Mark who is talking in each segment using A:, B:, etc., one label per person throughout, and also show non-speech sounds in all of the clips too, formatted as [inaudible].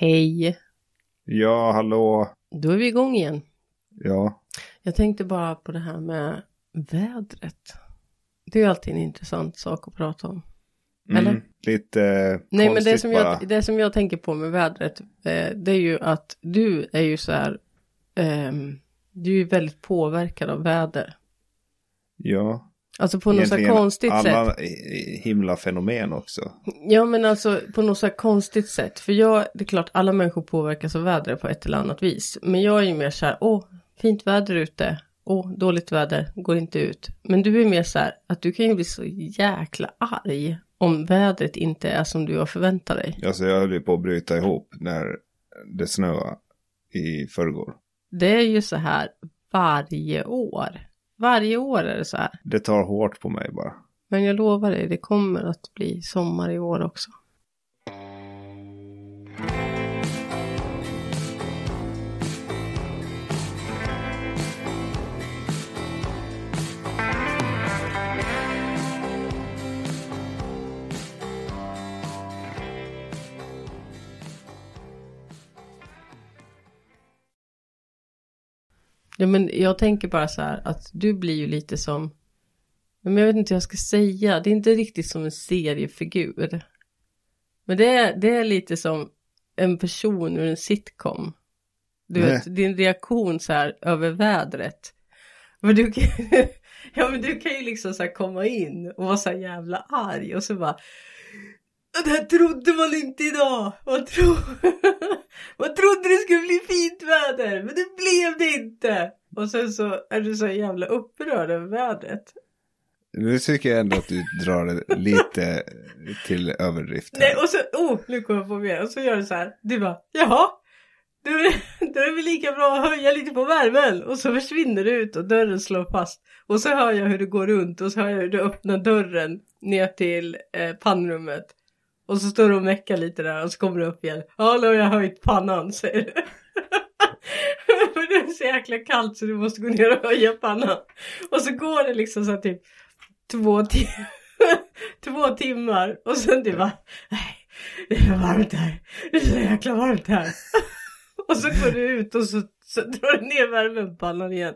A: Hej!
B: Ja, hallå.
A: Då är vi igång igen.
B: Ja,
A: Jag tänkte bara på det här med vädret. Det är ju alltid en intressant sak att prata om. Eller?
B: Mm. lite eh,
A: Nej, men
B: konstigt
A: det som,
B: bara.
A: jag, det som jag tänker på med vädret, eh, det är ju att du är ju så här, ehm, du är ju väldigt påverkad av väder.
B: Ja.
A: Alltså på något så här
B: Egentligen
A: konstigt sätt.
B: alla i- himla fenomen också.
A: Ja men alltså på något så här konstigt sätt. För jag, det är klart alla människor påverkas av vädret på ett eller annat vis. Men jag är ju mer så här, åh, fint väder ute. Åh, dåligt väder, går inte ut. Men du är mer så här, att du kan ju bli så jäkla arg om vädret inte är som du har förväntat dig.
B: Alltså jag höll ju på att bryta ihop när det snöade i förrgår.
A: Det är ju så här varje år. Varje år är det så här.
B: Det tar hårt på mig bara.
A: Men jag lovar dig, det kommer att bli sommar i år också. Ja, men jag tänker bara så här att du blir ju lite som men jag vet inte hur jag ska säga. Det är inte riktigt som en seriefigur. Men det är, det är lite som en person ur en sitcom. Du
B: Nej.
A: vet, din reaktion så här över vädret. Men du kan, [laughs] ja, men du kan ju liksom så här komma in och vara så här jävla arg och så bara det här trodde man inte idag! Man, tro... [laughs] man trodde det skulle bli fint väder, men det blev det inte! Och sen så är du så jävla upprörd över vädret.
B: Nu tycker jag ändå att du
A: [laughs]
B: drar det lite till överdrift. här.
A: Nej, och så, oh, nu kommer jag på mer. Och så gör du så här. Du bara, jaha. Då är, det- då är det väl lika bra att höja lite på värmen. Och så försvinner du ut och dörren slår fast. Och så hör jag hur du går runt och så hör jag hur du öppnar dörren ner till eh, pannrummet. Och så står du och meckar lite där och så kommer du upp igen. Ja, nu har jag höjt pannan, säger du. [laughs] För det är så jäkla kallt så du måste gå ner och höja pannan. Och så går det liksom så här typ två, tim- [laughs] två timmar och sen du bara nej, det är för varmt här. Det är så jäkla varmt här. [laughs] och så går du ut och så, så drar du ner värmen på pannan igen.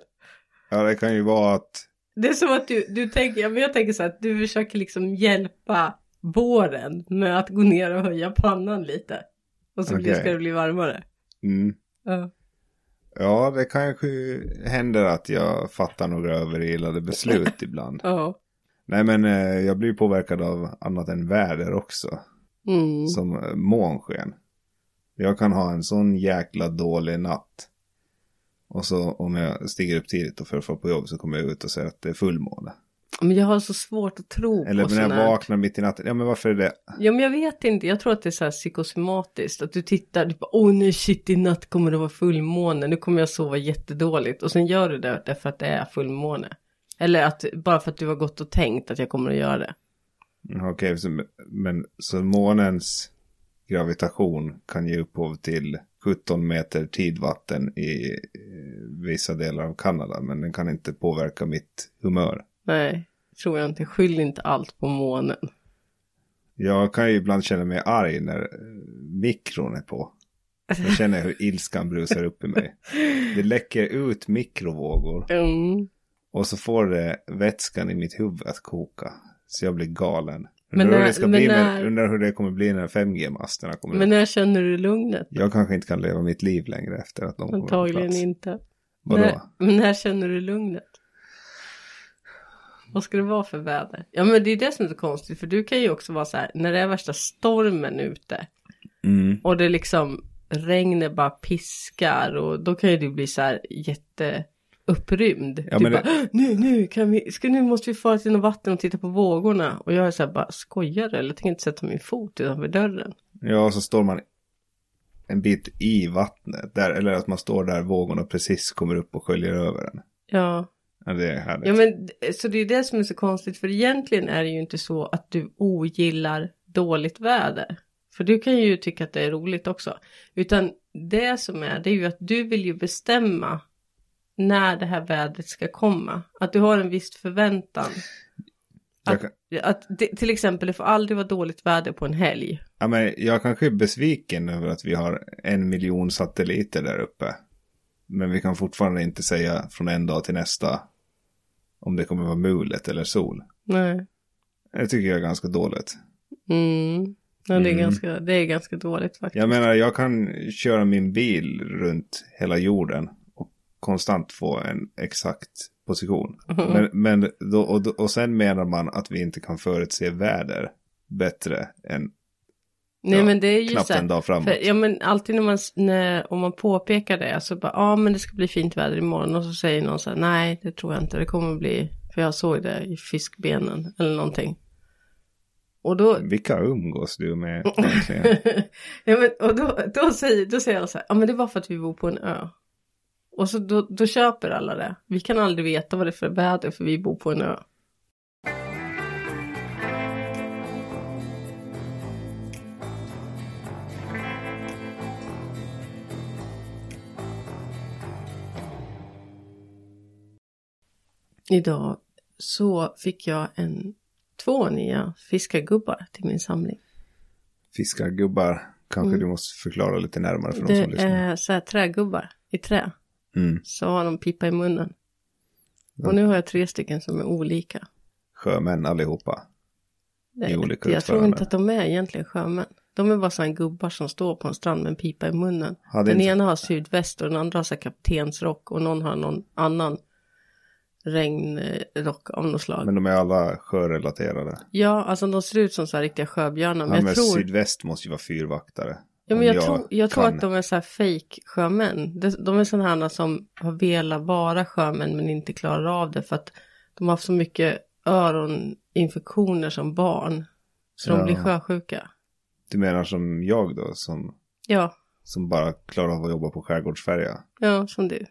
B: Ja, det kan ju vara att...
A: Det är som att du, du tänker, ja, men jag tänker så här att du försöker liksom hjälpa våren med att gå ner och höja pannan lite. Och så blir,
B: Okej.
A: ska det bli varmare.
B: Mm.
A: Ja.
B: Ja, det kanske händer att jag fattar några
A: [laughs]
B: överilade beslut ibland.
A: Ja.
B: Nej, men eh, jag blir påverkad av annat än väder också.
A: Mm.
B: som eh, månsken. Jag kan ha en sån jäkla dålig natt. Och så om jag stiger upp tidigt och för att få på jobb så kommer jag ut och säger att det är fullmåne.
A: Men jag har så svårt att tro
B: Eller
A: på
B: när jag
A: sådana här.
B: vaknar mitt i natten. Ja men varför är det?
A: Ja men jag vet inte, jag tror att det är så här psykosomatiskt. Att du tittar, du bara åh nej shit i natt kommer det vara fullmåne, nu kommer jag sova jättedåligt. Och sen gör du det därför att det är fullmåne. Eller att, bara för att du har gått och tänkt att jag kommer att göra det.
B: Mm, Okej, så, men så månens gravitation kan ge upphov till 17 meter tidvatten i eh, vissa delar av Kanada. Men den kan inte påverka mitt humör.
A: Nej, tror jag inte. Skyll inte allt på månen.
B: Jag kan ju ibland känna mig arg när eh, mikron är på. Jag känner hur ilskan brusar upp i mig. Det läcker ut mikrovågor
A: Mm.
B: och så får det vätskan i mitt huvud att koka. Så jag blir galen.
A: Men
B: Undrar, hur,
A: när-
B: det ska
A: men
B: bli
A: när-
B: med, undrar hur det kommer bli när 5G-masterna kommer
A: Men
B: upp.
A: när känner du lugnet?
B: Jag kanske inte kan leva mitt liv längre efter att de kommer på
A: Antagligen
B: plats.
A: inte.
B: Vadå?
A: När, men när känner du lugnet? Vad ska det vara för väder? Ja men det är det som är så konstigt för du kan ju också vara så här när det är värsta stormen ute
B: Mm.
A: och det liksom regnet bara piskar och då kan ju du bli så här jätteupprymd.
B: Ja,
A: du
B: men
A: bara,
B: det-
A: "Åh, nu, nu, kan vi, ska, nu måste vi fara till något vatten och titta på vågorna. Och jag är så här bara, skojar du? eller? Jag tänker inte sätta min fot utanför dörren.
B: Ja, så står man en bit i vattnet. Där, eller att man står där vågorna precis kommer upp och sköljer över en.
A: Ja,
B: Ja, det är härligt.
A: Ja men d- så det är det som är så konstigt för egentligen är det ju inte så att du ogillar dåligt väder. För du kan ju tycka att det är roligt också. Utan det som är det är ju att du vill ju bestämma när det här vädret ska komma. Att du har en viss förväntan.
B: Jag, kan-
A: Att det, till exempel, det får aldrig vara dåligt väder på en helg.
B: ja, men jag kanske är besviken över att vi har en miljon satelliter där uppe. Men vi kan fortfarande inte säga från en dag till nästa om det kommer vara mulet eller sol.
A: Nej.
B: Det tycker jag är ganska dåligt.
A: Mm. Ja, det, är
B: Mm.
A: ganska, det är ganska dåligt faktiskt.
B: Jag menar, jag kan köra min bil runt hela jorden och konstant få en exakt position.
A: Mm-hmm.
B: Men, men då, och, då- och sen menar man att vi inte kan förutse väder bättre än
A: Nej
B: ja,
A: men det är ju
B: knappt
A: så
B: en
A: här,
B: dag framåt.
A: för, ja men alltid när man, s- när, om man påpekar det så bara, ja ah, men det ska bli fint väder imorgon och så säger någon så här, nej det tror jag inte det kommer bli, för jag såg det i fiskbenen eller någonting. Och då,
B: Vilka umgås du
A: [laughs]
B: med egentligen?
A: ja, men, och då, då, säger, då säger jag så här, ja men det var för att vi bor på en ö. Och så då, då köper alla det. Vi kan aldrig veta vad det är för väder för vi bor på en ö. Idag så fick jag en två nya fiskargubbar till min samling.
B: Fiskargubbar kanske
A: Mm.
B: du måste förklara lite närmare för de
A: Det
B: som lyssnar.
A: är så här trägubbar i trä.
B: Mm.
A: Så har de pipa i munnen.
B: Ja.
A: Och nu har jag tre stycken som är olika.
B: Sjömän allihopa.
A: Det,
B: I
A: jag
B: olika
A: tror
B: utföranden.
A: inte att de är egentligen sjömän. De är bara sådana gubbar som står på en strand med en pipa i munnen.
B: Hade
A: Den
B: inte-
A: ena har sydväst och den andra har så här kaptensrock och någon har någon annan regnrock av något slag.
B: Men de är alla sjörelaterade.
A: Ja, alltså de ser ut som så här riktiga sjöbjörnar. Men
B: Han
A: jag
B: med
A: tror...
B: sydväst måste ju vara fyrvaktare.
A: Ja, men
B: Om
A: jag, tror, jag tror
B: kan.
A: att de är så här fake sjömän. De, de är sådana här som har velat vara sjömän men inte klarar av det för att de har haft så mycket öroninfektioner som barn. Så de
B: Ja.
A: blir sjösjuka.
B: Du menar som jag då, som,
A: Ja,
B: som bara klarar av att jobba på skärgårdsfärja.
A: ja som du.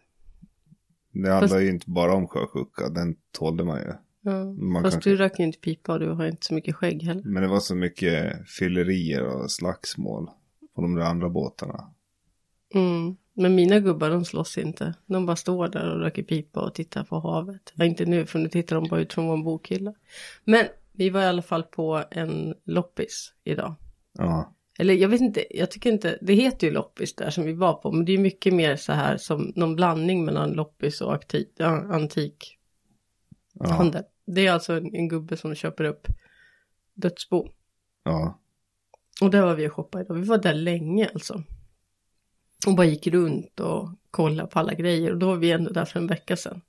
B: Det handlar ju inte bara om sjösjuka, den tålde man ju.
A: Ja.
B: Man
A: Fast
B: kanske-
A: du röker ju inte pipa och du har ju inte så mycket skägg heller.
B: Men det var så mycket fyllerier och slagsmål på de där andra båtarna.
A: Mm. Men mina gubbar de slåss inte. De bara står där och röker pipa och tittar på havet. Ja, inte nu för nu tittar de bara ut från vår bokhylla. Men vi var i alla fall på en loppis idag.
B: Ja,
A: Eller jag vet inte, jag tycker inte, det heter ju loppis där som vi var på, men det är ju mycket mer så här som någon blandning mellan loppis och akti- ja, antikhandel.
B: ja,
A: Det är alltså en, en gubbe som köper upp dödsbo.
B: ja.
A: Och där var vi och shoppade idag, vi var där länge alltså. Och bara gick runt och kollade på alla grejer och då var vi ändå där för en vecka sedan.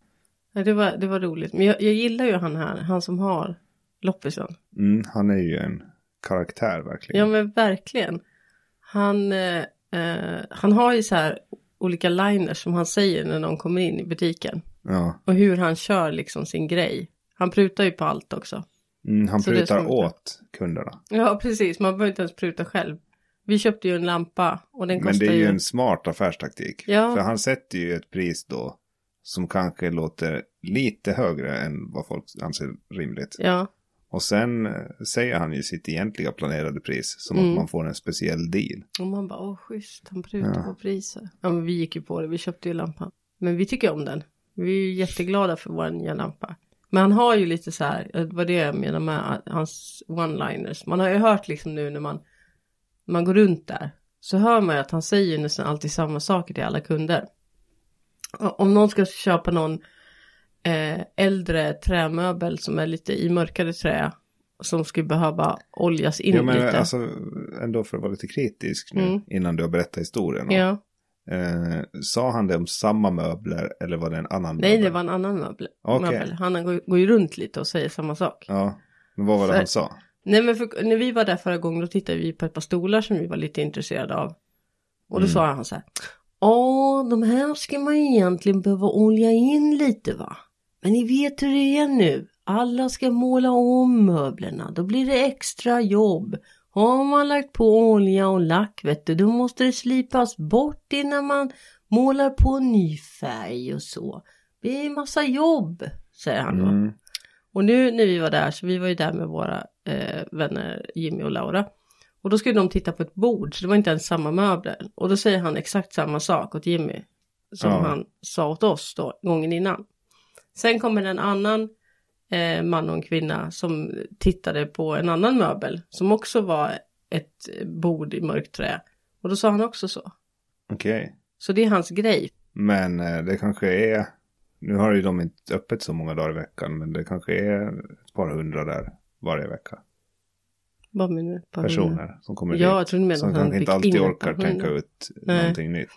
A: Ja, det, var, det var roligt, men jag, jag gillar ju han här, han som har loppisen.
B: Mm, han är ju en karaktär verkligen.
A: Ja men verkligen. Han, eh, eh, han har ju så här olika liners som han säger när någon kommer in i butiken.
B: Ja.
A: Och hur han kör liksom sin grej. Han prutar ju på allt också.
B: Mm, han
A: Så det är
B: prutar
A: som-
B: åt kunderna.
A: Ja precis, man behöver inte ens pruta själv. Vi köpte ju en lampa och den
B: Men
A: kostar
B: det är ju
A: ju...
B: en smart affärstaktik.
A: Ja.
B: För han sätter ju ett pris då som kanske låter lite högre än vad folk anser rimligt.
A: Ja,
B: Och sen eh, säger han ju sitt egentliga planerade pris som
A: Mm.
B: att man får en speciell deal.
A: och man bara åh schysst, han prutar
B: Ja.
A: på priset. Ja men vi gick ju på det, vi köpte ju lampan. Men vi tycker om den. Vi är ju jätteglada för vår nya lampa. Men han har ju lite så här, eh, vad det är jag menar med att hans one-liners. Man har ju hört liksom nu när man, när man går runt där. Så hör man ju att han säger nästan alltid samma saker till alla kunder. Och Om någon ska köpa någon eh, äldre trämöbel som är lite i mörkare trä. Som skulle behöva oljas in
B: ja, men
A: lite.
B: alltså ändå för att vara lite kritisk nu
A: Mm.
B: innan du har berättat historien.
A: ja.
B: Eh, sa han det om samma möbler eller var det en annan
A: Nej,
B: möbel?
A: det var en annan möbel.
B: Okej.
A: möbel. Han går, går ju runt lite och säger samma sak.
B: Ja, men vad var det
A: För-
B: han sa?
A: Nej, men för, när vi var där förra gången då tittade vi på ett par stolar som vi var lite intresserade av. Och då
B: Mm.
A: sa han så här. Ja, de här ska man egentligen behöva olja in lite va? Men ni vet hur det är nu. Alla ska måla om möblerna. Då blir det extra jobb. Har man lagt på olja och lack vet du, då måste det slipas bort innan man målar på ny färg och så. Det är en massa jobb, säger han då.
B: Mm.
A: Och nu när vi var där, så vi var ju där med våra eh, vänner Jimmy och Laura. Och då skulle de titta på ett bord, så det var inte ens samma möbler. Och då säger han exakt samma sak åt Jimmy. Som
B: Ja.
A: han sa åt oss då, gången innan. Sen kommer en annan eh, man och en kvinna som tittade på en annan möbel som också var ett bord i mörkt trä. Och då sa han också så.
B: Okej.
A: Så det är hans grej.
B: Men eh, det kanske är... Nu har ju de inte öppet så många dagar i veckan, men det kanske är ett par hundra där varje vecka.
A: Vad menar du?
B: Personer som kommer
A: Ja,
B: dit.
A: jag tror du menar
B: Som
A: att han
B: kanske inte
A: fick
B: alltid
A: in ett
B: orkar
A: par
B: tänka
A: hundra.
B: ut
A: Nej.
B: någonting nytt.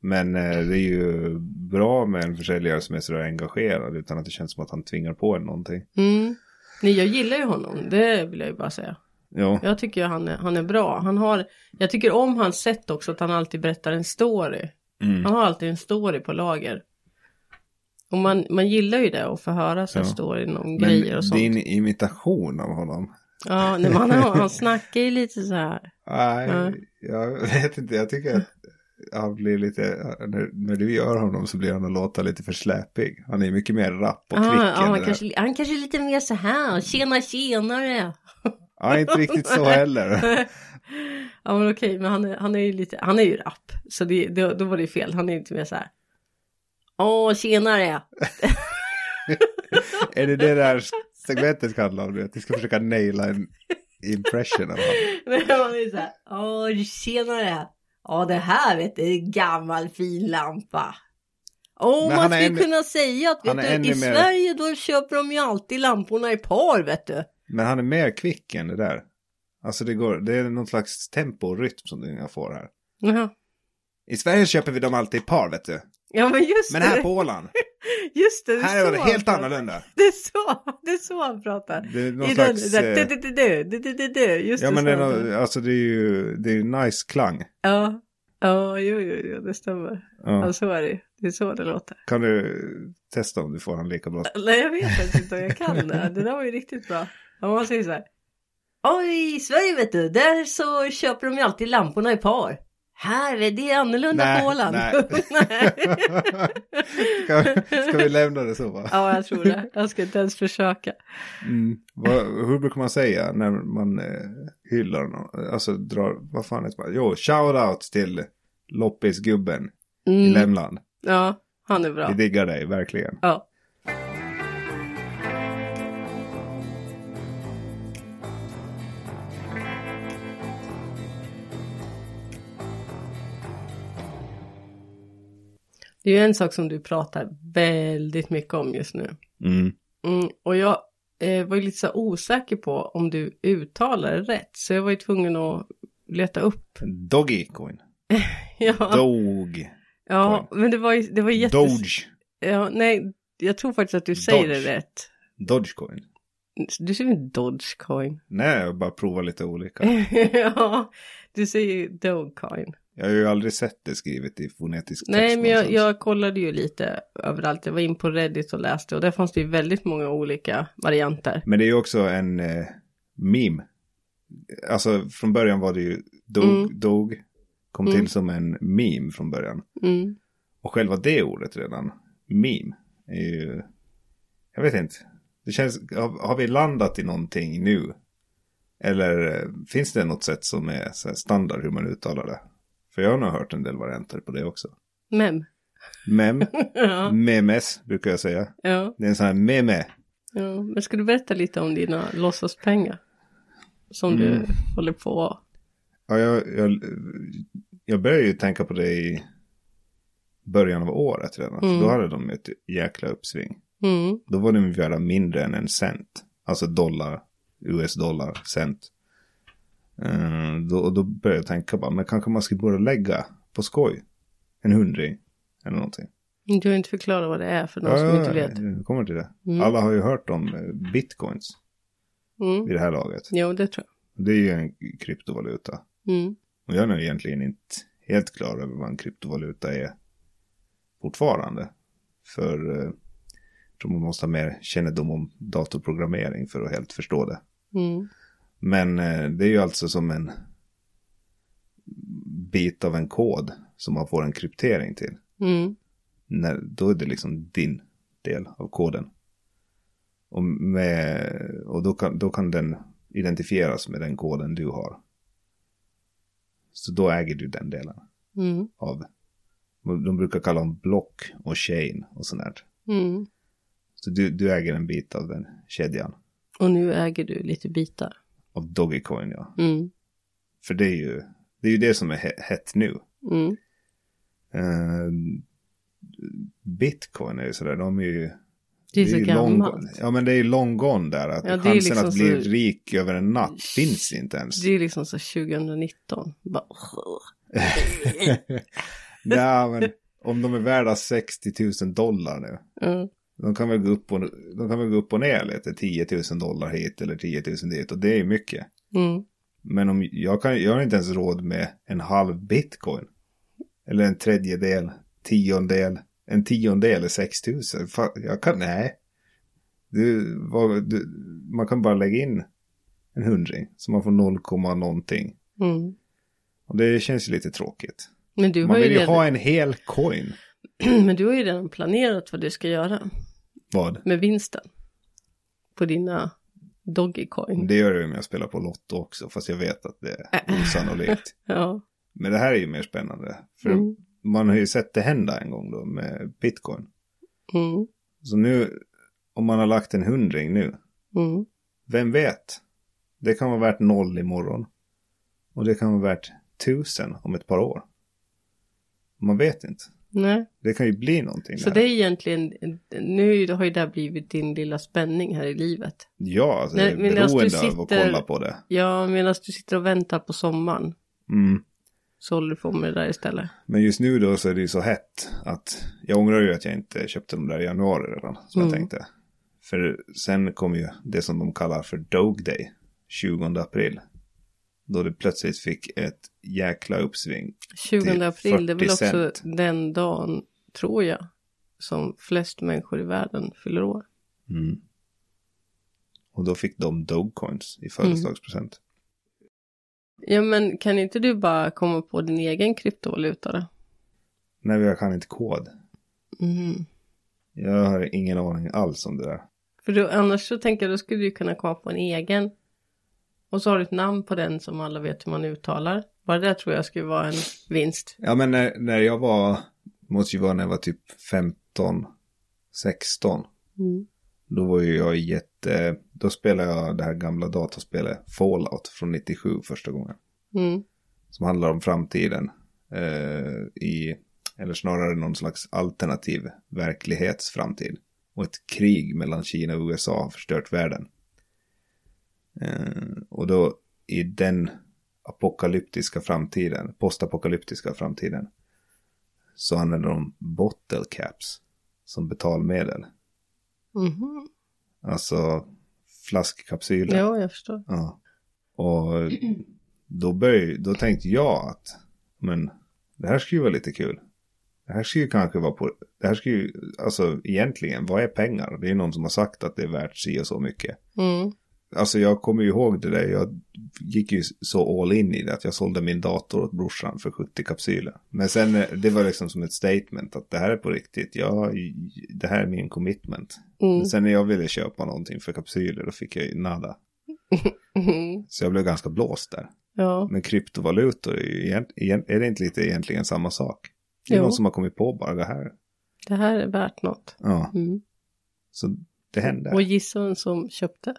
B: Men eh, det är ju bra med en försäljare som är sådär engagerad utan att det känns som att han tvingar på en någonting.
A: Mm. Nej, jag gillar ju honom. Det vill jag ju bara säga.
B: Ja,
A: Jag tycker ju han är, han är bra. Han har, jag tycker om hans sätt också att han alltid berättar en story.
B: mm.
A: Han har alltid en story på lager. Och man, man gillar ju det att få höra så här
B: Ja.
A: storyn om grejer
B: men
A: och sånt.
B: din imitation av honom.
A: Ja, nej, men han, har- han snackar ju lite så här.
B: Nej,
A: Ja.
B: jag [laughs] vet inte. Jag tycker att han blir lite... När, när du gör honom så blir han att låta lite för släpig. Han är mycket mer rapp och
A: Ah,
B: kvick
A: ja,
B: än det
A: han,
B: där.
A: kanske, han kanske är lite mer så här. Tjena
B: [laughs]
A: tjenare.
B: Ja, inte riktigt så heller.
A: ja men okej, men han är, han är ju lite, han är ju rapp. Så det, det, då var det ju fel. Han är ju inte mer så här. Åh tjenare.
B: är det det där segmentet handlar om? nu? Att vi ska försöka naila en impression av honom.
A: [laughs] Men man är så här, åh tjenare! Ja det här vet du, är en gammal fin lampa. Åh
B: Men
A: man
B: han är
A: skulle
B: ännu-
A: kunna säga att
B: han
A: vet
B: är
A: du,
B: ännu
A: i
B: mer-
A: Sverige då köper de ju alltid lamporna i par vet du.
B: Men han är mer kvick än det där. Alltså det, går, det är någon slags tempo och rytm som jag får här.
A: Ja,
B: I Sverige köper vi dem alltid i par, vet du.
A: ja men just
B: Men
A: det,
B: här på Åland,
A: just det, det
B: här är
A: så
B: det
A: han
B: helt
A: pratar.
B: annorlunda.
A: Det är så, det är så han pratar.
B: Det är någon
A: I
B: slags...
A: den, där,
B: eh,
A: du, du, du, du, du, du, du, just
B: Ja,
A: det,
B: men
A: så
B: det är,
A: han
B: någon,
A: pratar.
B: alltså det är ju det är ju nice klang.
A: Ja, ja, jo, jo, jo, det stämmer.
B: Ja.
A: Ja, så är det ju. Det är så det låter.
B: Kan du testa om du får han lika bra?
A: [laughs] Nej jag vet faktiskt inte om jag kan det. Det där var ju riktigt bra. Om man säger så här. "Ja, i Sverige vet du, där så köper de ju alltid lamporna i par. Här, är det är annorlunda
B: Nej,
A: på Åland.
B: nej.
A: [laughs]
B: ska, ska vi lämna det så va?
A: ja, jag tror det. Jag ska inte ens försöka.
B: Mm. Vad, hur brukar man säga när man eh, hyllar någon? Alltså drar, vad fan heter man? Jo, shout out till loppisgubben i
A: Mm,
B: Lämland.
A: ja, han är bra.
B: Vi diggar dig, verkligen.
A: Ja. Det är ju en sak som du pratar väldigt mycket om just nu.
B: Mm.
A: Mm, och jag eh, var ju lite så här osäker på om du uttalar det rätt. Så jag var ju tvungen att leta upp. [laughs]
B: Doggy coin.
A: Ja,
B: Dog.
A: ja men det var ju, det var ju jättes...
B: Doge.
A: Ja, nej, jag tror faktiskt att du säger
B: Dodge.
A: det rätt.
B: Dogecoin.
A: Du säger väl Dogecoin?
B: Nej, jag bara provar lite
A: Eh.
B: olika.
A: [laughs] ja, du säger ju Dogecoin.
B: Jag har ju aldrig sett det skrivet i fonetisk text.
A: Nej, men jag,
B: någonstans.
A: jag kollade ju lite överallt. Jag var in på Reddit och läste och där fanns det ju väldigt många olika varianter.
B: Men det är ju också en eh, meme. Alltså från början var det ju dog,
A: Mm.
B: dog kom
A: Mm.
B: till som en meme från början.
A: Mm.
B: Och själva det ordet redan, meme, är ju... Jag vet inte. Det känns, har, har vi landat i någonting nu? Eller eh, finns det något sätt som är så här, standard hur man uttalar det? För jag har nog hört en del varianter på det också.
A: Mem.
B: Mem,
A: [laughs] ja,
B: memes brukar jag säga.
A: ja,
B: Det är en sån här meme.
A: ja, men ska du berätta lite om dina låtsaspengar? Som du
B: Mm.
A: håller på
B: Ja, jag, jag, jag började ju tänka på det i början av året redan.
A: Mm.
B: För då hade de ett jäkla uppsving.
A: mm.
B: Då var de värda mindre än en cent. Alltså dollar, US-dollar, cent. Eh, då, och då började jag tänka bara, men kanske man skulle börja lägga på skoj. En hundring eller någonting.
A: Du har inte förklarat vad det är för någon som inte vet.
B: jag kommer till det.
A: Mm.
B: Alla har ju hört om eh, bitcoins
A: Mm.
B: i det här laget.
A: Jo, det tror
B: Det är ju en kryptovaluta.
A: jag. Mm.
B: Och jag är nog egentligen inte helt klar över vad en kryptovaluta är fortfarande. För eh, jag tror man måste ha mer kännedom om datorprogrammering för att helt förstå det.
A: Mm.
B: Men eh, det är ju alltså som en bit av en kod som man får en kryptering till.
A: Mm.
B: När, då är det liksom din del av koden. Och, med, och då, kan, då kan den identifieras med den koden du har. Så då äger du den delen
A: Mm.
B: av. De brukar kalla dem block och chain och sånt där.
A: Mm.
B: Så Så du, du äger en bit av den kedjan.
A: Och nu äger du lite bitar.
B: Av Dogecoin ja.
A: Mm.
B: För det är ju det, är ju det som är he- hett nu.
A: Mm.
B: Eh, Bitcoin är ju sådär, de är ju...
A: Det är så
B: ju long-
A: gammalt.
B: Ja men det är ju long gone där. Att
A: Ja, det är
B: chansen
A: liksom
B: att bli
A: så-
B: rik över en natt finns inte ens.
A: Det är liksom så 2019. Bara,
B: ja men om de är värda 60 000 dollar nu.
A: mm.
B: De kan, väl gå upp och, de kan väl gå upp och ner lite, 10 000 dollar hit eller 10 000 dit och det är mycket.
A: Mm.
B: Men om, jag, kan, jag har inte ens råd med en halv bitcoin. Eller en tredjedel, tiondel, en tiondel är 6 000. Fan, jag kan, nej. Du, vad, du, man kan bara lägga in en hundring så man får 0, komma någonting.
A: Mm.
B: Och det känns ju lite tråkigt.
A: Men, du har
B: Man
A: ju
B: vill ju
A: redan,
B: ha en hel coin.
A: [clears throat] men du har ju redan planerat vad du ska göra
B: Vad?
A: med vinsten. På dina Dogecoin.
B: Det gör jag ju om jag spelar på Lotto också, fast jag vet att det är
A: [laughs]
B: osannolikt.
A: [clears throat] Ja.
B: Men det här är ju mer spännande. För
A: Mm.
B: man har ju sett det hända en gång då med bitcoin.
A: Mm.
B: Så nu, om man har lagt en hundring nu,
A: Mm.
B: vem vet? Det kan vara värt noll imorgon. Och det kan vara värt tusen om ett par år. Man vet inte.
A: Nej.
B: Det kan ju bli någonting.
A: Så
B: där.
A: det är egentligen, nu har ju det här blivit din lilla spänning här i livet.
B: Ja, alltså,
A: Nej,
B: jag
A: men
B: är
A: alltså, du
B: beroende av att
A: sitter-
B: kolla på det.
A: Ja, medan du sitter och väntar på sommaren
B: Mm.
A: så håller du på med det där istället.
B: Men just nu då så är det ju så hett att jag ångrar ju att jag inte köpte de där i januari redan som jag
A: Mm.
B: tänkte. För sen kom ju det som de kallar för Dog Day, 20 april. Då det plötsligt fick ett jäkla uppsving.
A: 20
B: Till
A: april, det är väl
B: 40
A: också
B: cent.
A: den dagen, tror jag, som flest människor i världen fyller år.
B: Mm. Och då fick de Dogecoins i födelsedagspresent.
A: Ja, men kan inte du bara komma på din egen kryptovaluta då?
B: Nej, jag kan inte kod.
A: Mm.
B: Jag har ingen aning alls om det där.
A: För då, annars så tänker jag, då skulle du kunna komma på en egen. Och så har du ett namn på den som alla vet hur man uttalar. Bara det tror jag skulle vara en vinst.
B: Ja, men när, när jag var, måste ju vara när jag var typ 15, 16.
A: Mm.
B: Då var ju jag jätte... Då spelade jag det här gamla dataspelet Fallout från 97 första gången.
A: Mm.
B: Som handlar om framtiden. Eh, i, eller snarare någon slags alternativ verklighetsframtid. Och ett krig mellan Kina och USA har förstört världen. Eh, och då i den apokalyptiska framtiden, postapokalyptiska framtiden. Så använder de bottle caps som betalmedel.
A: Mhm.
B: Alltså flaskkapsyler.
A: Ja, jag förstår.
B: Ja. Och då, började, då tänkte jag att men det här skulle ju vara lite kul. Det här skulle ju kanske vara på, det här skulle ju, alltså egentligen, vad är pengar? Det är någon som har sagt att det är värt si och så mycket.
A: Mm.
B: Alltså jag kommer ju ihåg det där, jag gick ju så all in i det att jag sålde min dator åt brorsan för 70 kapsyler. Men sen, eh, det var liksom som ett statement att det här är på riktigt, jag, det här är min commitment.
A: Mm.
B: Men sen när jag ville köpa någonting för kapsyler då fick jag ju nada.
A: Mhm.
B: Så jag blev ganska blåst där.
A: Ja.
B: Men kryptovalutor är ju egent- egent- är det inte lite egentligen samma sak? Det är
A: Jo.
B: någon som har kommit på bara det här.
A: Det här är värt något.
B: Ja,
A: Mm.
B: så
A: Och
B: det händer.
A: gissa vem som köpte.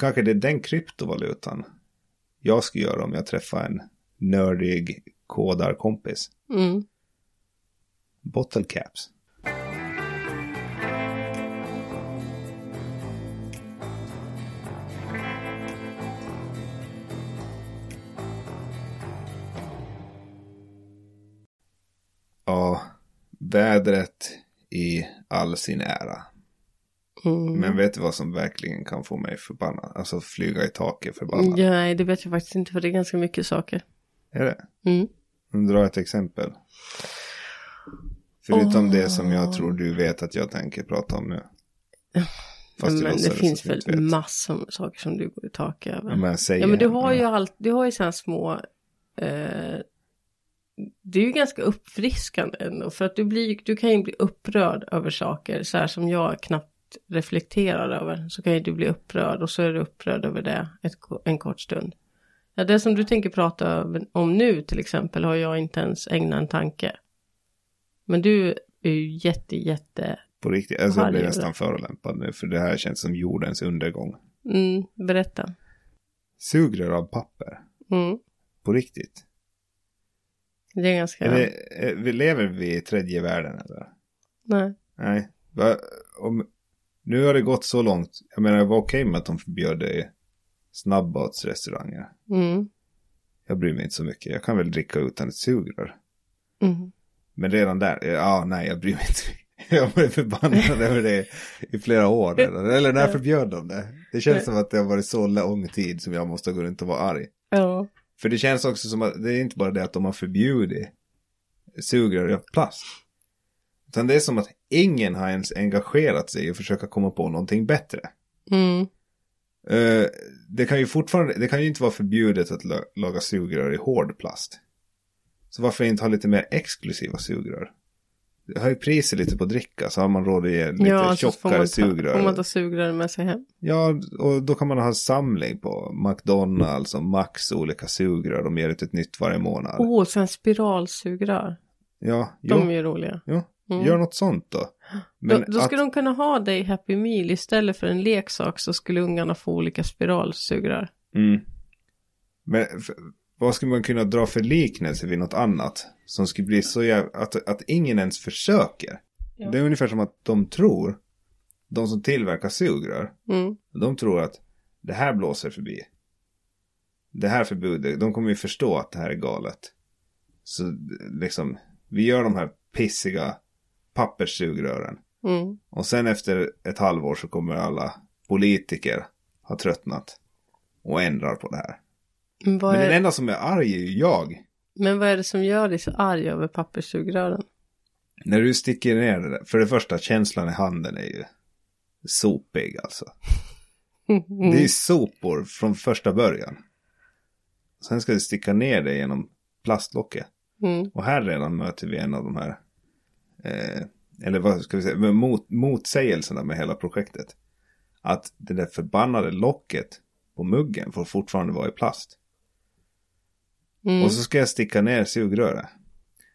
B: Kanske det är den kryptovalutan jag ska göra om jag träffar en nördig kodarkompis.
A: Mm.
B: Bottle caps. Ja, vädret i all sin ära.
A: Mm.
B: Men vet du vad som verkligen kan få mig förbannad? Alltså flyga i taket förbannad.
A: Ja, nej, det vet jag faktiskt inte för det är ganska mycket saker.
B: Är det?
A: Mm.
B: Dra ett exempel. Förutom
A: Åh.
B: det som
A: Ah.
B: jag tror du vet att jag tänker prata om nu. Fast
A: men
B: låtsades
A: det
B: att
A: finns
B: du
A: väl
B: inte vet.
A: massor med saker som du går i tak över.
B: Ja, men jag säger,
A: ja, men du har ju allt, du har ju sådana små, eh, det är ju ganska uppfriskande ändå. För att du, blir, du kan ju bli upprörd över saker, så här som jag knappt reflekterar över. Så kan ju du bli upprörd och så är du upprörd över det ett, ko- en kort stund. Ja, det som du tänker prata över- om nu till exempel har jag inte ens ägnat en tanke. Men du är ju jätte, jätte
B: På riktigt. Alltså jag blir
A: Herregud.
B: nästan förolämpad nu för det här känns som jordens undergång.
A: Mm, berätta.
B: Sugrör av papper.
A: Mm.
B: På riktigt.
A: Det är ganska...
B: Eller, eh, vi lever vi i tredje världen eller?
A: Nej.
B: Nej. Va? Om, nu har det gått så långt. Jag menar, det var okej med att de förbjöd det snabbmatsrestauranger.
A: Mm.
B: Jag bryr mig inte så mycket. Jag kan väl dricka utan ett sugrör.
A: Mm.
B: Men redan där, ja ah, nej jag bryr mig inte. [laughs] Jag blev förbannad över det i flera år. Eller, eller när förbjöd de det? Det känns som att det har varit så lång tid som jag måste gå runt och vara arg.
A: Ja.
B: För det känns också som att det är inte bara det att de har förbjudit sugrör av plast. Utan det är som att ingen har ens engagerat sig i att försöka komma på någonting bättre.
A: Mm.
B: Eh, det kan ju fortfarande, det kan ju inte vara förbjudet att la- laga sugrör i hård plast. Så varför inte ha lite mer exklusiva sugrör? Det höjer priset lite på dricka så har man råd att ge lite
A: ja, så får man
B: tjockare
A: ta,
B: sugrör.
A: Får man ta sugrör med sig hem?
B: Ja, och då kan man ha samling på McDonalds och Max olika sugrör. De ger ut ett nytt varje månad.
A: Åh, oh, så en spiralsugrör.
B: Ja, jo,
A: De är ju roliga.
B: jo.
A: Mm.
B: gör något sånt då.
A: då då skulle de kunna ha dig i Happy Meal istället för en leksak så skulle ungarna få olika spiralsugrör.
B: Mm. Men f- vad skulle man kunna dra för liknelse vid något annat? Som skulle bli så jävla... Att, att ingen ens försöker.
A: Ja.
B: Det är ungefär som att de tror, de som tillverkar sugrör,
A: Mm.
B: de tror att det här blåser förbi. Det här förbudet, de kommer ju förstå att det här är galet. Så liksom, vi gör de här pissiga papperssugrören.
A: Mm.
B: Och sen efter ett halvår så kommer alla politiker ha tröttnat och ändrar på det här.
A: Men, vad
B: Men den
A: är,
B: enda som är arg är ju jag.
A: men vad är det som gör dig så arg över papperssugrören? [laughs]
B: När du sticker ner det där, för det första känslan i handen är ju sopig alltså.
A: Mm,
B: Det är ju sopor från första början. Sen ska du sticka ner det genom plastlocket.
A: Mm.
B: Och här redan möter vi en av de här, eh, eller vad ska vi säga, men mot, motsägelserna med hela projektet. Att det där förbannade locket på muggen får fortfarande vara i plast.
A: Mm.
B: Och så ska jag sticka ner sugröret.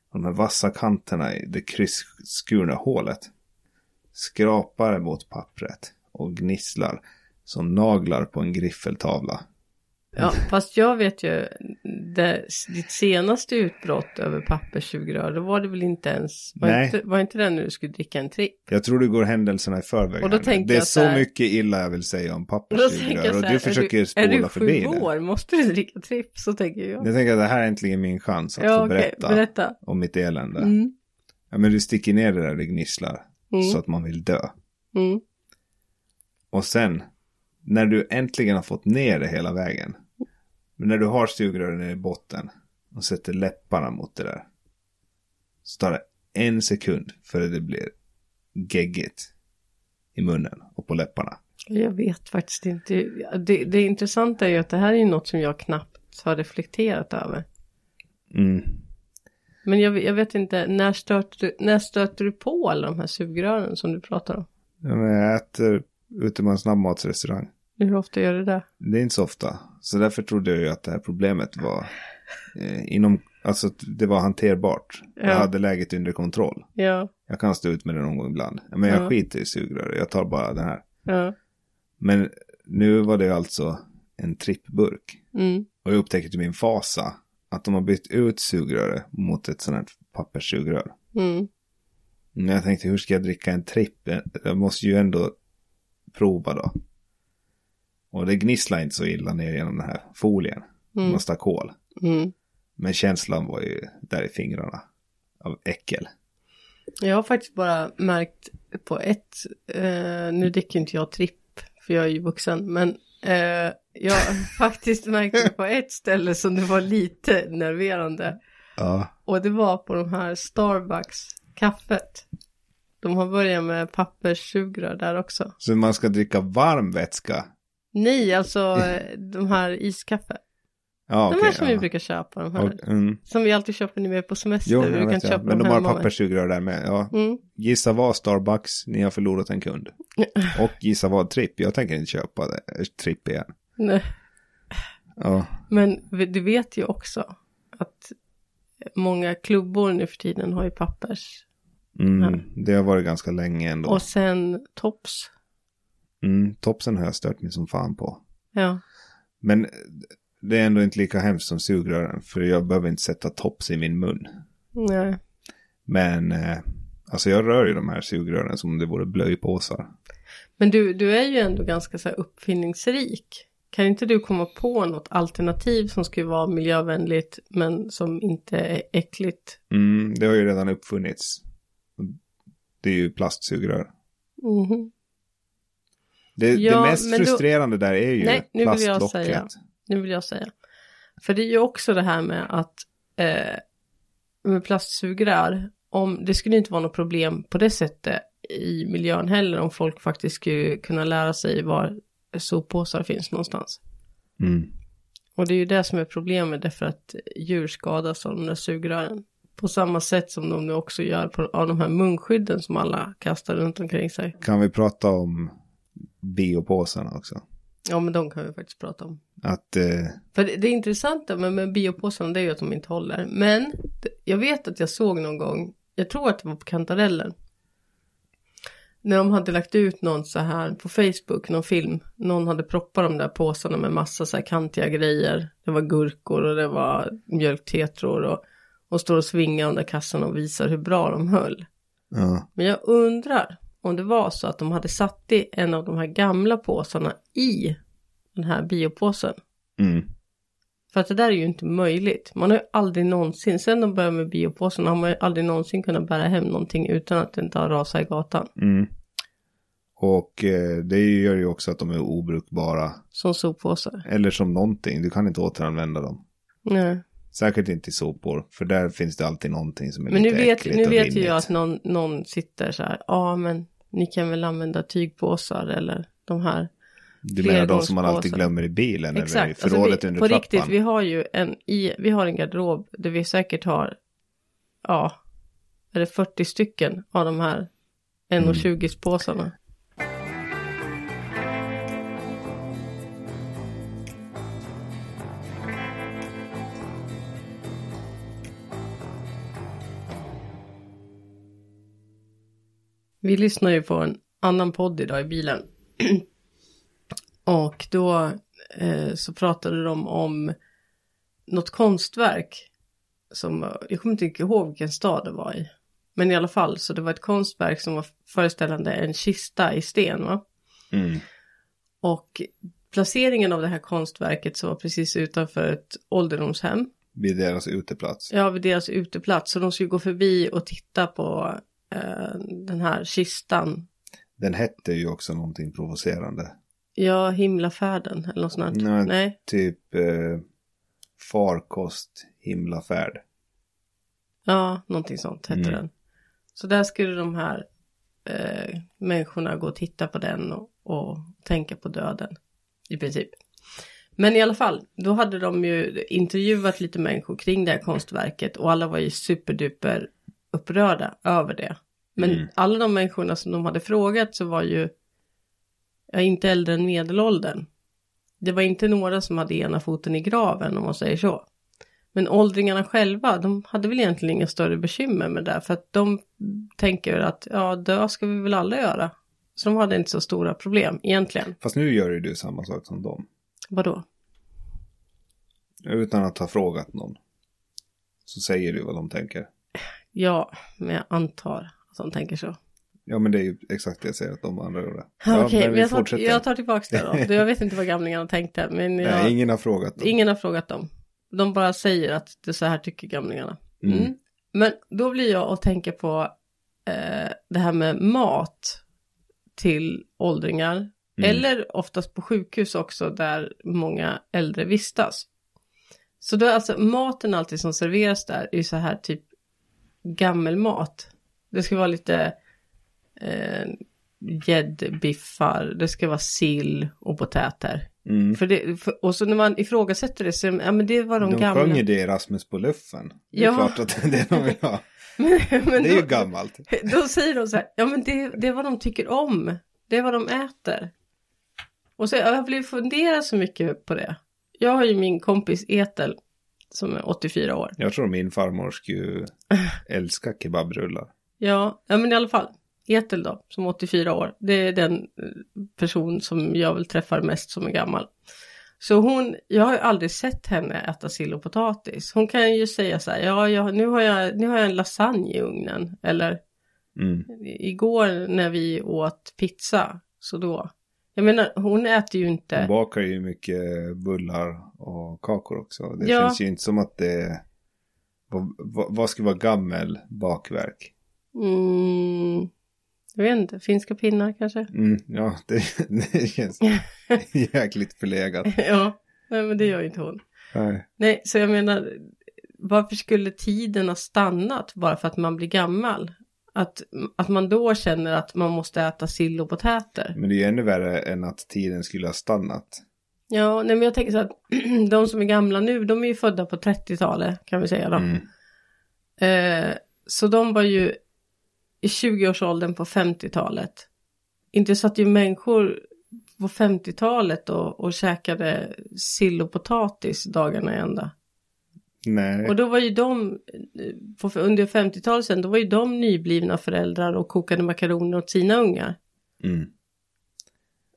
B: Och de här vassa kanterna i det kryssskurna hålet skrapar mot pappret och gnisslar som naglar på en griffeltavla.
A: Ja, fast jag vet ju, det, ditt senaste utbrott över papperssugrör, då var det väl inte ens, var,
B: Nej.
A: Inte, var inte det när du skulle dricka en tripp?
B: Jag tror du går händelserna i förväg.
A: Och då
B: här nu.
A: tänker
B: det är
A: jag så
B: så
A: här-
B: mycket illa jag vill säga om
A: Och då tänker jag
B: papperssugrör
A: så
B: och
A: här,
B: du försöker
A: är du,
B: spola förbi
A: Är du sju
B: det.
A: år, måste du dricka tripp? Så tänker jag.
B: Jag tänker att det här är äntligen min chans att
A: ja,
B: få
A: okej,
B: berätta,
A: berätta.
B: om mitt elände.
A: Mm,
B: Ja, men du sticker ner det där det gnisslar
A: Mm.
B: så att man vill dö.
A: mm,
B: Och sen, när du äntligen har fått ner det hela vägen. Men när du har sugrören nere i botten och sätter läpparna mot det där. Så tar det en sekund före det blir geggigt i munnen och på läpparna.
A: jag vet faktiskt inte. Det, det intressanta är ju att det här är ju något som jag knappt har reflekterat över.
B: Mm.
A: Men jag, jag vet inte, när stöter, du, när stöter du på alla de här sugrören som du pratar om?
B: Ja, men jag äter ute på en snabbmatsrestaurang.
A: Hur ofta gör du det?
B: Det är inte så ofta. Så därför trodde jag ju att det här problemet var eh, inom, alltså att det var hanterbart.
A: Ja.
B: Jag hade läget under kontroll.
A: Ja,
B: Jag kan stå ut med det någon gång ibland. Men jag
A: Ja.
B: skiter i sugrör. Jag tar bara den här.
A: ja,
B: Men nu var det alltså en trippburk.
A: mm,
B: Och jag upptäckte till min fasa att de har bytt ut sugröret mot ett sånt här papperssugrör.
A: mm,
B: Men jag tänkte hur ska jag dricka en tripp? Jag måste ju ändå prova då. Och det gnisslar inte så illa ner genom den här folien.
A: Mm.
B: Man stack hål.
A: mm.
B: Men känslan var ju där i fingrarna. Av äckel.
A: Jag har faktiskt bara märkt på ett, eh, nu dricker inte jag tripp för jag är ju vuxen, men eh, jag har [laughs] faktiskt märkt på ett ställe som det var lite nerverande.
B: Ja.
A: Och det var på de här Starbucks-kaffet. De har börjat med papperssugrör där också.
B: Så man ska dricka varm vätska.
A: Nej, alltså
B: [laughs]
A: eh, de här iskaffe.
B: Ja,
A: de här
B: okej,
A: som
B: ja.
A: vi brukar köpa, de här.
B: Och- mm.
A: Som vi alltid köper när vi är på semester.
B: Jo,
A: vi
B: jag
A: brukar
B: vet
A: inte
B: jag.
A: köpa
B: Men de
A: dem
B: har
A: hemma, va?
B: papperssugrör där med. Ja.
A: Mm.
B: Gissa vad Starbucks, ni har förlorat
A: [laughs]
B: en kund. Och gissa vad Tripp, jag tänker inte köpa det. eh, Tripp igen.
A: Nej.
B: Ja,
A: Men v- du vet ju också att många klubbor nu för tiden har ju pappers
B: Mm,
A: Ja.
B: Det har varit ganska länge ändå.
A: Och sen tops.
B: Mm, topsen har jag stört mig som fan på.
A: Ja.
B: Men eh, det är ändå inte lika hemskt som sugrören, för jag behöver inte sätta tops i min mun.
A: Nej.
B: Men eh, alltså jag rör ju de här sugrören som om det vore blöjpåsar.
A: Men du, du är ju ändå ganska så här uppfinningsrik. Kan inte du komma på något alternativ som skulle vara miljövänligt men som inte är äckligt?
B: Mm, det har ju redan uppfunnits. Det är ju plastsugrör.
A: Mhm.
B: Det,
A: Ja,
B: det mest
A: men då-
B: frustrerande där är ju
A: Nej, nu vill jag
B: plastlocket.
A: säga. Nu vill jag säga. För det är ju också det här med att eh, med plastsugrör, om, det skulle inte vara något problem på det sättet i miljön heller om folk faktiskt skulle kunna lära sig var soppåsar finns någonstans.
B: Mm.
A: Och det är ju det som är problemet därför att djur skadas av de där sugrören. På samma sätt som de nu också gör på, av de här munskydden som alla kastar runt omkring sig.
B: Kan vi prata om biopåsarna också?
A: Ja men de kan vi faktiskt prata om.
B: Att eh,
A: För det, det intressanta med, med biopåsarna det är ju att de inte håller. Men det, jag vet att jag såg någon gång, jag tror att det var på kantarellen. När de hade lagt ut någon så här på Facebook, någon film. Någon hade proppat de där påsarna med massa så här kantiga grejer. Det var gurkor och det var mjölktetror och, och står och svingar under kassan och visar hur bra de höll.
B: ja,
A: Men jag undrar om det var så att de hade satt i en av de här gamla påsarna i den här biopåsen.
B: mm,
A: För att det där är ju inte möjligt. Man har ju aldrig någonsin, sen de började med biopåsen har man ju aldrig någonsin kunnat bära hem någonting utan att det inte har rasat i gatan.
B: mm. Och eh, det gör ju också att de är obrukbara.
A: Som soppåsar.
B: Eller som någonting, du kan inte återanvända dem.
A: Nej.
B: Säkert inte i sopor, för där finns det alltid någonting som är
A: Men nu
B: lite
A: vet,
B: äckligt
A: nu
B: och
A: vet ju
B: rinnigt.
A: jag att någon, någon sitter så här, ja men ni kan väl använda tygpåsar eller de här.
B: Du menar de som man alltid
A: flergångspåsar.
B: glömmer i bilen eller i
A: Exakt, Alltså,
B: förrådet
A: vi,
B: under
A: på
B: trappan?
A: riktigt, vi har ju en, i, vi har en garderob där vi säkert har, ja, är det 40 stycken av de här 1,20 påsarna. Vi lyssnar ju på en annan podd idag i bilen. [clears throat] Och då eh, så pratade de om något konstverk. Som, var- jag kommer inte ihåg vilken stad det var i. Men i alla fall, så det var ett konstverk som var föreställande en kista i sten. Va?
B: Mm.
A: Och placeringen av det här konstverket som var precis utanför ett ålderdomshem.
B: Vid deras uteplats.
A: Ja, vid deras uteplats. Så de skulle gå förbi och titta på eh, den här kistan.
B: Den hette ju också någonting provocerande.
A: Ja, himlafärden eller något sånt. där.
B: Nej.
A: Nej.
B: Typ eh, farkost, himlafärd.
A: Ja, någonting sånt hette
B: Mm.
A: den. Så där skulle de här eh, människorna gå och titta på den och, och tänka på döden i princip. Men i alla fall, då hade de ju intervjuat lite människor kring det här konstverket och alla var ju superduper upprörda över det. Men
B: Mm.
A: alla de människorna som de hade frågat så var ju ja, inte äldre än medelåldern. Det var inte några som hade ena foten i graven om man säger så. Men åldringarna själva, de hade väl egentligen inga större bekymmer med det där, för att de tänker att ja, dö ska vi väl alla göra. Så de hade inte så stora problem egentligen.
B: Fast nu gör ju du samma sak som dem.
A: Vadå?
B: Utan att ha frågat någon. Så säger du vad de tänker.
A: Ja, men jag antar att de tänker så.
B: Ja men det är ju exakt det jag säger att de andra gjorde.
A: Ja, [laughs] Okej,
B: men
A: men
B: vi
A: jag tar,
B: fortsätter.
A: jag tar tillbaka det
B: [laughs]
A: då. Jag vet inte vad gamlingarna tänkte, men jag,
B: Nej, ingen har frågat dem.
A: ingen har frågat dem. De bara säger att det så här tycker gamlingarna.
B: Mm.
A: Mm. Men då blir jag att tänka på eh, det här med mat till åldringar.
B: Mm.
A: Eller oftast på sjukhus också där många äldre vistas. Så då är alltså maten alltid som serveras där är ju så här typ gammelmat. Det ska vara lite eh, gäddbiffar, det ska vara sill och potäter.
B: Mm.
A: För det, för, och så när man ifrågasätter det så, ja men det var de,
B: De
A: gamla.
B: sjöng ju det i Rasmus på luffen. Det är
A: Ja.
B: klart att det är det de vill ha.
A: men, [laughs] men
B: det är ju
A: då-
B: gammalt.
A: [laughs] Då säger de så här, ja men det, det är vad de tycker om, det är vad de äter. Och så ja, jag blev fundera så mycket på det. Jag har ju min kompis Etel som är 84 år. [laughs]
B: Jag tror min farmor skulle älska kebabrullar.
A: Ja, ja men i alla fall. Ethel då, som 84 år, det är den eh, person som jag väl träffar mest som är gammal. Så hon, jag har ju aldrig sett henne äta sill och potatis. Hon kan ju säga så här, ja, jag, nu, har jag, nu har jag en lasagne i ugnen. Eller
B: Mm.
A: igår när vi åt pizza, så då. Jag menar, hon äter ju inte...
B: Hon bakar ju mycket bullar och kakor också. Det
A: Ja.
B: känns ju inte som att det... Vad, vad, vad skulle vara gammel bakverk?
A: Mm, jag vet inte, finska pinnar kanske? [laughs]
B: Mm, ja, [laughs] det, det känns jäkligt förlegat.
A: ja, nej men det gör ju inte hon.
B: Nej.
A: Nej, så jag menar, varför skulle tiden ha stannat bara för att man blir gammal? Att, att man då känner att man måste äta sill och potäter.
B: Men det är ju ännu värre än att tiden skulle ha stannat.
A: Ja, nej men jag tänker så att [clears throat] de som är gamla nu, de är ju födda på 30-talet kan vi säga då.
B: Mm.
A: Eh, så de var ju i 20-årsåldern på 50-talet. Inte satt ju människor på 50-talet och, och käkade sill och potatis dagarna i ända.
B: Nej.
A: Och då var ju de, eh, på, under 50-talet sen, då var ju de nyblivna föräldrar och kokade makaroner åt sina ungar.
B: Mm.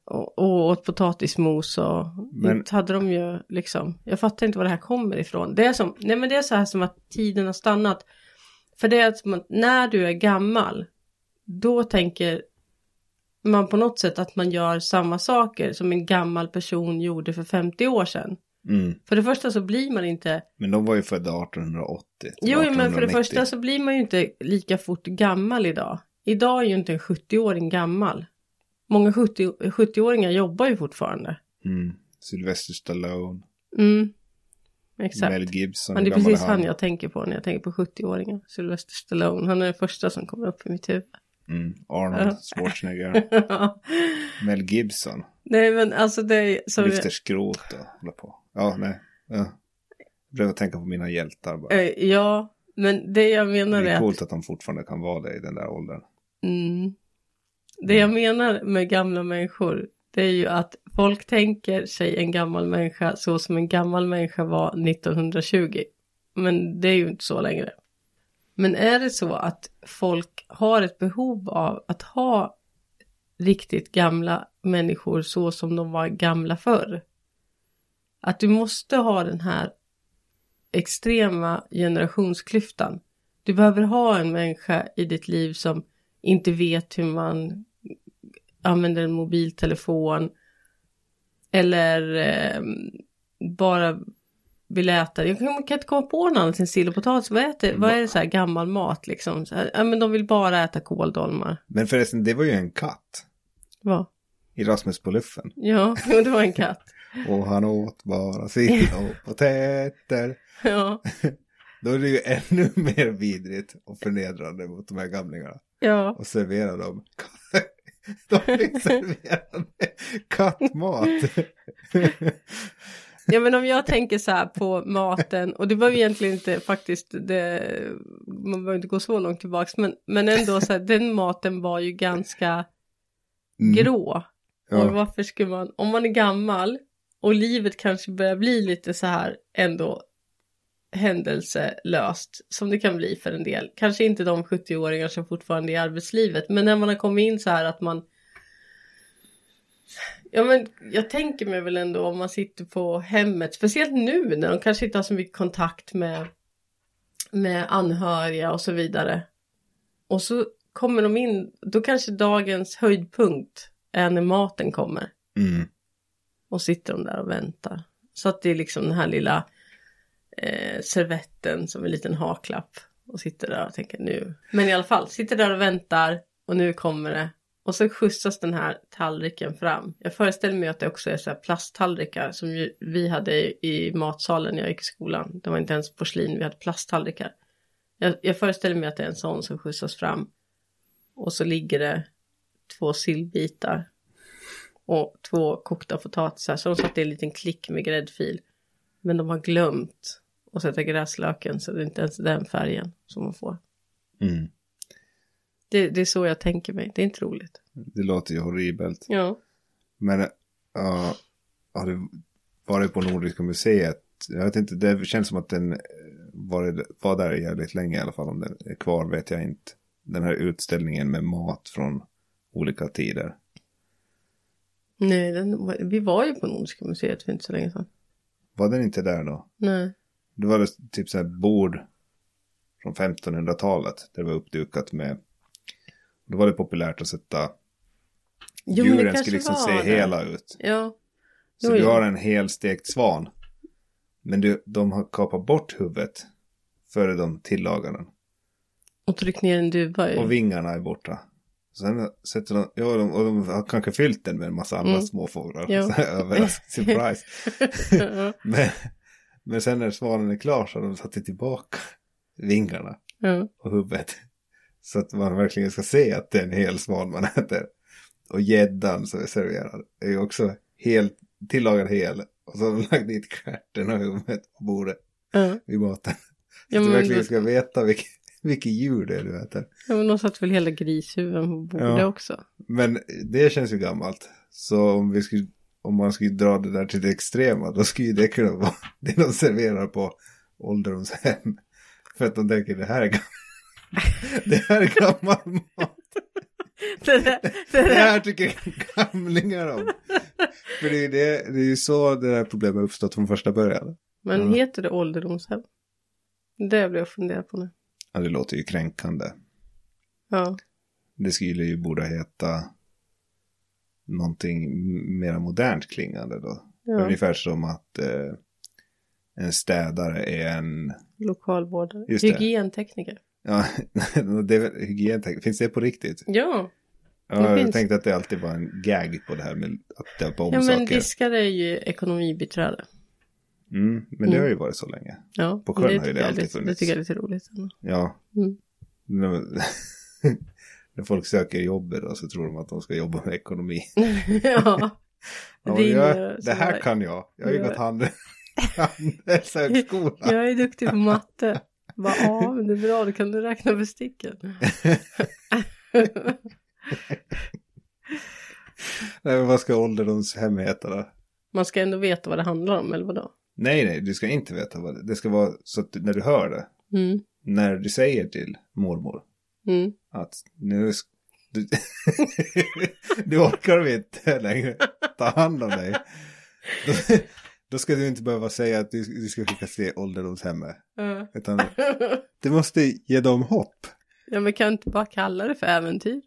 A: Och, och åt potatismos och
B: Men-
A: inte hade de ju liksom. Jag fattar inte var det här kommer ifrån. Det är som, nej men det är så här som att tiden har stannat. För det är att man, när du är gammal, då tänker man på något sätt att man gör samma saker som en gammal person gjorde för 50 år sedan.
B: Mm.
A: För det första så blir man inte
B: Men de var ju födda 1880. till
A: Jo, men för det
B: 1890.
A: första så blir man ju inte lika fort gammal idag. Idag är ju inte en 70-åring gammal. Många 70 70-åringar jobbar ju fortfarande.
B: Mm. Sylvester Stallone,
A: Mm, exakt.
B: Mel Gibson.
A: Men det är
B: hur gammal
A: precis han jag tänker på när jag tänker på 70-åringar. Sylvester Stallone, han är den första som kommer upp i mitt huvud. [laughs]
B: Mm. Arnold Schwarzenegger. Mel Gibson.
A: Nej, men alltså det är... Så
B: Lyfter skrot och håller på. Ja, nej. Ja. Jag behöver tänka på mina hjältar bara.
A: Eh, ja, men det jag menar
B: det
A: är
B: är
A: att...
B: coolt att de fortfarande kan vara det i den där åldern.
A: Mm. Det
B: Mm.
A: jag menar med gamla människor, det är ju att folk tänker sig en gammal människa så som en gammal människa var 1920. Men det är ju inte så längre. Men är det så att folk har ett behov av att ha riktigt gamla människor så som de var gamla förr? Att du måste ha den här extrema generationsklyftan. Du behöver ha en människa i ditt liv som inte vet hur man använder en mobiltelefon eller eh, bara vill äta. Jag kan, man kan inte komma på något annat än sill och potatis. Vad, äter, vad är det så här gammal mat liksom? Så här, ja, men de vill bara äta kåldolmar.
B: Men förresten, det var ju en katt.
A: Va?
B: I Rasmus på luffen.
A: Ja, [laughs] jo, det var en katt.
B: Och han åt bara sill
A: [laughs]
B: och potäter. [laughs]
A: Ja,
B: Då är det ju ännu mer vidrigt och förnedrande mot de här gamlingarna.
A: ja.
B: och servera dem. [laughs] De fick servera kattmat.
A: Ja men om jag tänker så här på maten och det behöver egentligen inte faktiskt, det, man behöver inte gå så långt tillbaks men, men ändå så här, den maten var ju ganska
B: Mm.
A: grå. Och
B: Ja,
A: varför skulle man, om man är gammal och livet kanske börjar bli lite så här ändå händelselöst som det kan bli för en del. Kanske inte de 70-åringar som fortfarande är i arbetslivet men när man har kommit in så här att man Ja men jag tänker mig väl ändå om man sitter på hemmet, speciellt nu när de kanske inte har så mycket kontakt med, med anhöriga och så vidare. Och så kommer de in, då kanske dagens höjdpunkt är när maten kommer.
B: mm.
A: Och sitter de där och väntar. Så att det är liksom den här lilla eh, servetten som en liten haklapp. Och sitter där och tänker nu. Men i alla fall, sitter där och väntar och nu kommer det. Och så skjutsas den här tallriken fram. Jag föreställer mig att det också är så här plasttallrikar som ju vi hade i- i matsalen när jag gick i skolan. Det var inte ens porslin, vi hade plasttallrikar. Jag, jag föreställer mig att det är en sån som skjutsas fram. Och så ligger det två sillbitar och två kokta potatisar. Så de satte i en liten klick med gräddfil. Men de har glömt att sätta gräslöken så det är inte ens den färgen som man får.
B: Mm.
A: Det, det är så jag tänker mig. Det är inte roligt.
B: Det låter ju horribelt.
A: Ja.
B: Men ja, har du varit på Nordiska museet? Jag vet inte, det känns som att den eh, var, var där jävligt länge i alla fall. Om den är kvar vet jag inte. den här utställningen med mat från olika tider.
A: Nej, den, vi var ju på Nordiska museet för inte så länge sedan.
B: Var den inte där då?
A: Nej.
B: Det var det typ så här bord från 1500-talet. Där det var uppdukat med... Då var det populärt att sätta...
A: Jo, men det
B: djuren
A: kanske
B: skulle liksom
A: var
B: se
A: det.
B: hela ut.
A: Ja.
B: Så
A: Jo,
B: du
A: jo.
B: har en helstekt svan. Men du, de har kapat bort huvudet. Före de tillagar den.
A: Och tryck ner en duva
B: Och
A: ju.
B: vingarna är borta. Sen sätter de, ja, de, och de har kanske fyllt den med en massa andra
A: Mm.
B: småfåglar.
A: Jo.
B: [laughs] Så här,
A: [laughs]
B: överraskning, surprise.
A: [laughs] ja.
B: Men, men sen när svanen är klar så har de satt tillbaka vingarna
A: ja.
B: och huvudet. Så att man verkligen ska se att det är en hel svan man äter. Och gäddan som är serverad är ju också helt tillagad hel. Och så har de lagt dit stjärten och huvudet på bordet
A: ja.
B: vid maten. Så
A: Ja,
B: att du
A: men
B: verkligen
A: då-
B: ska veta vilket, vilket djur det är du äter.
A: ja, men de satt väl hela grishuvuden på bordet
B: Ja.
A: också. [laughs]
B: Men det känns ju gammalt. Så om, vi skulle, om man skulle dra det där till det extrema då skulle ju det kunna vara [laughs] det de serverar på ålderdomshem. För att de tänker det här är gammalt. [laughs] Det här är gammal mat.
A: Det där, det
B: Det
A: där.
B: här tycker gamlingar om. För det är, ju det, det är ju så det där problemet uppstått från första början.
A: Men
B: Ja.
A: heter det ålderdomshem? Det blir jag fundera på nu.
B: Ja, det låter ju kränkande.
A: Ja.
B: Det skulle ju borde heta någonting m- mera modernt klingande då.
A: ja.
B: Ungefär som att eh, en städare är en...
A: Lokalvårdare.
B: Just det.
A: Hygientekniker.
B: Ja, [laughs] det är väl hygientek. Finns det på riktigt?
A: Ja. Det
B: Ja, jag
A: finns.
B: tänkte att det alltid var en gag på det här med att döpa om
A: ja, men
B: saker.
A: diskare är ju ekonomibiträde.
B: Mm, men det har ju varit så länge.
A: Ja.
B: På sjön har ju
A: tycker
B: det
A: jag
B: alltid
A: är lite- Det
B: funnits.
A: tycker jag är lite roligt. ändå. [laughs]
B: Ja.
A: Mm.
B: När- [laughs] När folk söker jobb då så tror de att de ska jobba med ekonomi.
A: ja.
B: Ja,
A: Ringer
B: jag, det
A: sådär.
B: här kan jag. Jag har ju
A: Ja.
B: gått handel, handelshögskola.
A: Jag är duktig på matte. Bara, ja, men det är bra, då kan du räkna besticken.
B: Nej, men vad ska ålderdomshem heta då?
A: Man ska ändå veta vad det handlar om, eller vadå?
B: Nej, nej, du ska inte veta vad det Det ska vara så att du- när du hör det.
A: Mm,
B: När du säger till mormor
A: mm.
B: att nu... sk- Du, [laughs] du orkar vi inte längre ta hand om dig. Då, då ska du inte behöva säga att du, du ska skickas till ålderdomshemmet.
A: Ja.
B: Utan du måste ge dem hopp.
A: Ja, men kan jag inte bara kalla det för äventyr?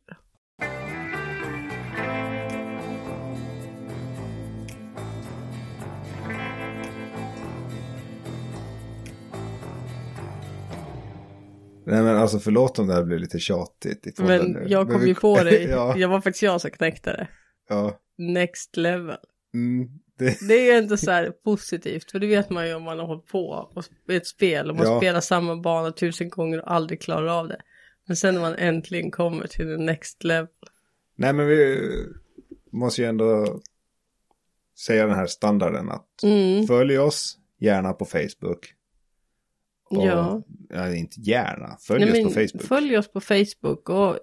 B: Nej men alltså förlåt om det här blir lite tjatigt i podden nu.
A: Men jag kom
B: vi-
A: ju på dig.
B: [laughs] ja,
A: Jag var faktiskt jag som knäckte det.
B: ja.
A: Next level.
B: Mm, det,
A: Det är ju ändå så här positivt, för det vet man ju om man har hållit på och sp- ett spel och man
B: Ja.
A: spelar samma bana tusen gånger och aldrig klarar av det. Men sen när man äntligen kommer till the next level.
B: nej men vi måste ju ändå säga den här standarden att
A: Mm,
B: följ oss gärna på Facebook. Och,
A: ja.
B: nej, inte gärna, följ
A: Nej,
B: oss på
A: men
B: Facebook.
A: Följ oss på Facebook och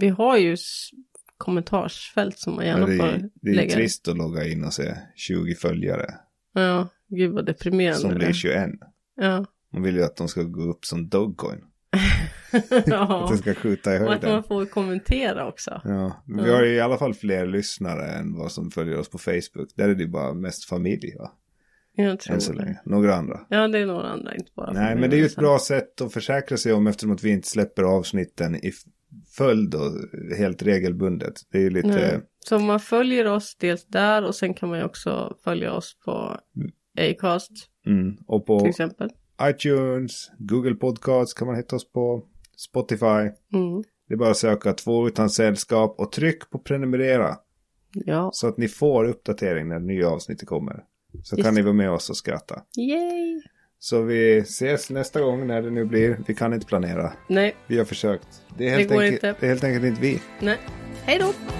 A: vi har ju s- kommentarsfält som man
B: Ja,
A: gärna
B: det, är-
A: får
B: det är ju
A: lägga.
B: trist att logga in och se 20 följare
A: Ja, gud vad deprimerande.
B: som
A: det
B: blir
A: är.
B: 21.
A: Ja. [laughs]
B: Man vill ju att de ska gå upp som Dogecoin. Att
A: ja.
B: de ska skjuta i
A: Och att
B: höjden.
A: man får kommentera också.
B: Ja, men vi
A: Ja.
B: har ju i alla fall fler lyssnare än vad som följer oss på Facebook. Där är det ju bara mest familj va?
A: Jag tror
B: Än så
A: det.
B: länge. Några andra.
A: Ja, det är några andra, inte bara.
B: Nej, men det är ju ett bra sätt att försäkra sig om eftersom att vi inte släpper avsnitten i f- följd och helt regelbundet. Det är ju lite...
A: Ja. Så man följer oss dels där och sen kan man ju också följa oss på Acast
B: Mm. Och
A: till
B: på
A: exempel.
B: iTunes, Google Podcasts kan man hitta oss på, Spotify.
A: Mm.
B: Det är bara att söka två utan sällskap och tryck på prenumerera
A: Ja,
B: så att ni får uppdatering när nya avsnitt kommer. Så
A: Just
B: kan
A: det.
B: ni vara med oss och skratta.
A: yay!
B: Så vi ses nästa gång när det nu blir. Vi kan inte planera.
A: Nej,
B: Vi har försökt. Det är
A: Det
B: helt,
A: går
B: enkelt,
A: inte.
B: Det är helt enkelt inte vi.
A: nej. Hej då!